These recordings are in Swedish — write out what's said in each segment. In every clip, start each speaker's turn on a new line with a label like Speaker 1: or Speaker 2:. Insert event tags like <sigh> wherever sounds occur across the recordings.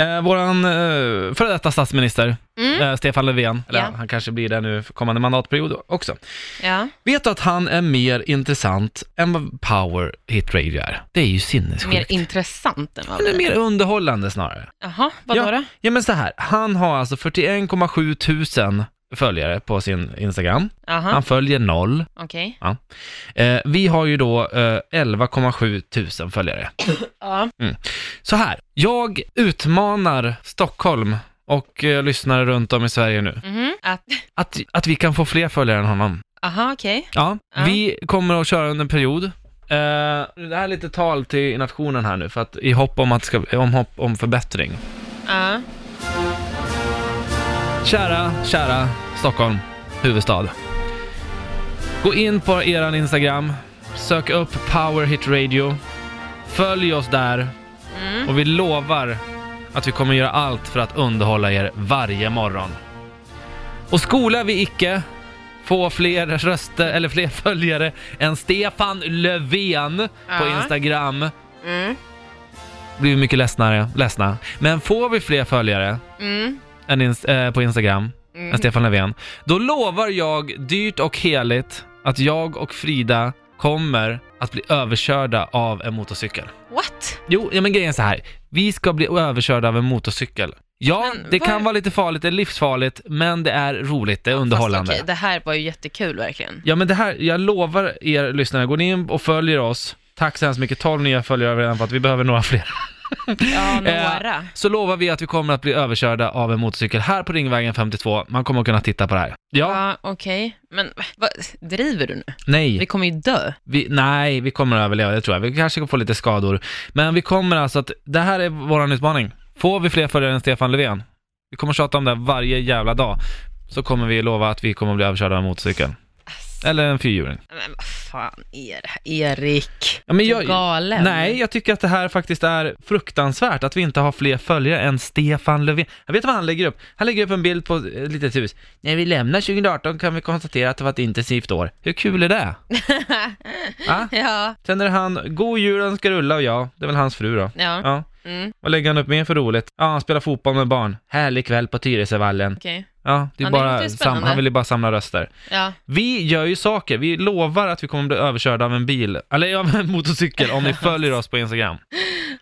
Speaker 1: Eh, våran eh, före detta statsminister,
Speaker 2: Mm.
Speaker 1: eh, Stefan Löfven, eller
Speaker 2: Ja.
Speaker 1: han kanske blir det nu för kommande mandatperiod också.
Speaker 2: Ja.
Speaker 1: Vet du att han är mer intressant än vad Power Hit Radio är? Det är ju
Speaker 2: Mer
Speaker 1: sinnessjukt.
Speaker 2: intressant än vad
Speaker 1: han är
Speaker 2: det
Speaker 1: mer underhållande snarare.
Speaker 2: Jaha, vadå
Speaker 1: Ja.
Speaker 2: då?
Speaker 1: Ja men så här, han har alltså 41,7 tusen följare på sin Instagram.
Speaker 2: Jaha,
Speaker 1: Han följer noll.
Speaker 2: okej.
Speaker 1: Eh, vi har ju då eh, 11,7 tusen följare.
Speaker 2: Ja.
Speaker 1: Så här, jag utmanar Stockholm och eh, lyssnare runt om i Sverige nu.
Speaker 2: Mhm. Att,
Speaker 1: Att, att vi kan få fler följare än honom.
Speaker 2: aha, okej.
Speaker 1: Ja,
Speaker 2: Ja.
Speaker 1: vi kommer att köra under en period. Eh, det här är lite tal till nationen här nu, för att i hopp om, att det ska, om, hopp om förbättring.
Speaker 2: Ja.
Speaker 1: Kära, kära Stockholm, huvudstad. Gå in på eran Instagram, sök upp Power Hit Radio, följ oss där
Speaker 2: Mm.
Speaker 1: och vi lovar att vi kommer göra allt för att underhålla er varje morgon. Och skola vi icke få fler röster eller fler <laughs> följare än Stefan Löfven på
Speaker 2: Ja.
Speaker 1: Instagram
Speaker 2: Mm.
Speaker 1: blir vi mycket ledsnare, ledsna. Men får vi fler följare
Speaker 2: Mm.
Speaker 1: än ins- eh, på Instagram än
Speaker 2: Mm.
Speaker 1: Stefan Löfven. Då lovar jag dyrt och heligt att jag och Frida kommer att bli överkörda av en motorcykel.
Speaker 2: What?
Speaker 1: Jo, ja, men grejen är så här. Vi ska bli överkörda av en motorcykel. Ja,
Speaker 2: Men
Speaker 1: det
Speaker 2: vad-
Speaker 1: kan vara lite farligt, det är livsfarligt, men det är roligt, det är underhållande.
Speaker 2: Fast okej, det här var ju
Speaker 1: <laughs>
Speaker 2: jättekul verkligen.
Speaker 1: Ja, men det här, jag lovar er lyssnare, går ni in och följer oss, tack så hemskt mycket, 12 nya följare redan för att vi behöver några fler.
Speaker 2: Ja,
Speaker 1: Eh,
Speaker 2: några.
Speaker 1: Så lovar vi att vi kommer att bli överkörda av en motorcykel här på Ringvägen 52. Man kommer att kunna titta på det här. Ja,
Speaker 2: Ja, okej. Men vad, driver du nu?
Speaker 1: nej.
Speaker 2: Vi kommer ju dö.
Speaker 1: Vi, nej, vi kommer att överleva, det tror jag. Vi kanske kan få lite skador. Men vi kommer alltså att, det här är vår utmaning. Får vi fler följare än Stefan Löfven? Vi kommer att tjata om det här varje jävla dag. Så kommer vi lova att vi kommer att bli överkörda av en motorcykel. Eller en fyrhjuling.
Speaker 2: Eh, Men vad fan är det här? Erik,
Speaker 1: Ja, men
Speaker 2: du är
Speaker 1: jag,
Speaker 2: galen.
Speaker 1: nej, jag tycker att det här faktiskt är fruktansvärt att vi inte har fler följare än Stefan Löfven. Jag vet vad han lägger upp. Han lägger upp en bild på ett litet hus. När vi lämnar 2018 kan vi konstatera att det var ett intensivt år. Hur kul är det? ah?
Speaker 2: <laughs> Ja,
Speaker 1: Sen är det han, God jul önskar Ulla och jag. Det är väl hans fru då.
Speaker 2: ja.
Speaker 1: Ja.
Speaker 2: Mm,
Speaker 1: Vad lägger han upp mer för roligt? Ja, han spelar fotboll med barn. Härlig kväll på Tyresövallen.
Speaker 2: okej.
Speaker 1: Ja, det är
Speaker 2: Ja, det låter
Speaker 1: bara,
Speaker 2: ju
Speaker 1: sam-
Speaker 2: spännande.
Speaker 1: han vill ju bara samla röster.
Speaker 2: Ja.
Speaker 1: Vi gör ju saker. Vi lovar att vi kommer bli överkörda av en bil, eller av en <laughs> motorcykel,
Speaker 2: <laughs>
Speaker 1: om ni följer oss på Instagram.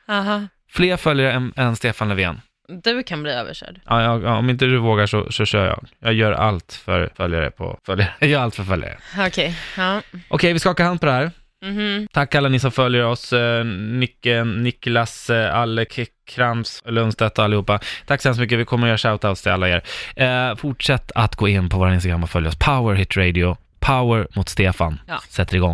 Speaker 2: Aha.
Speaker 1: Fler följare än, än Stefan Löfven.
Speaker 2: Du kan bli överkörd.
Speaker 1: Ja, jag, ja, om inte du vågar så, så kör jag. Jag gör allt för följare på följare. Jag gör allt för följare.
Speaker 2: Okej, ja.
Speaker 1: Okej, vi skakar hand på det här.
Speaker 2: Mhm.
Speaker 1: Tack alla ni som följer oss, eh, Nicke, Niklas, eh, Alle, K- Krams, Lundstedt och allihopa. Tack så hemskt mycket, vi kommer att göra shoutouts till alla er. Eh, fortsätt att gå in på vår Instagram och följ oss, Power Hit Radio, Power mot Stefan,
Speaker 2: Ja.
Speaker 1: sätter igång.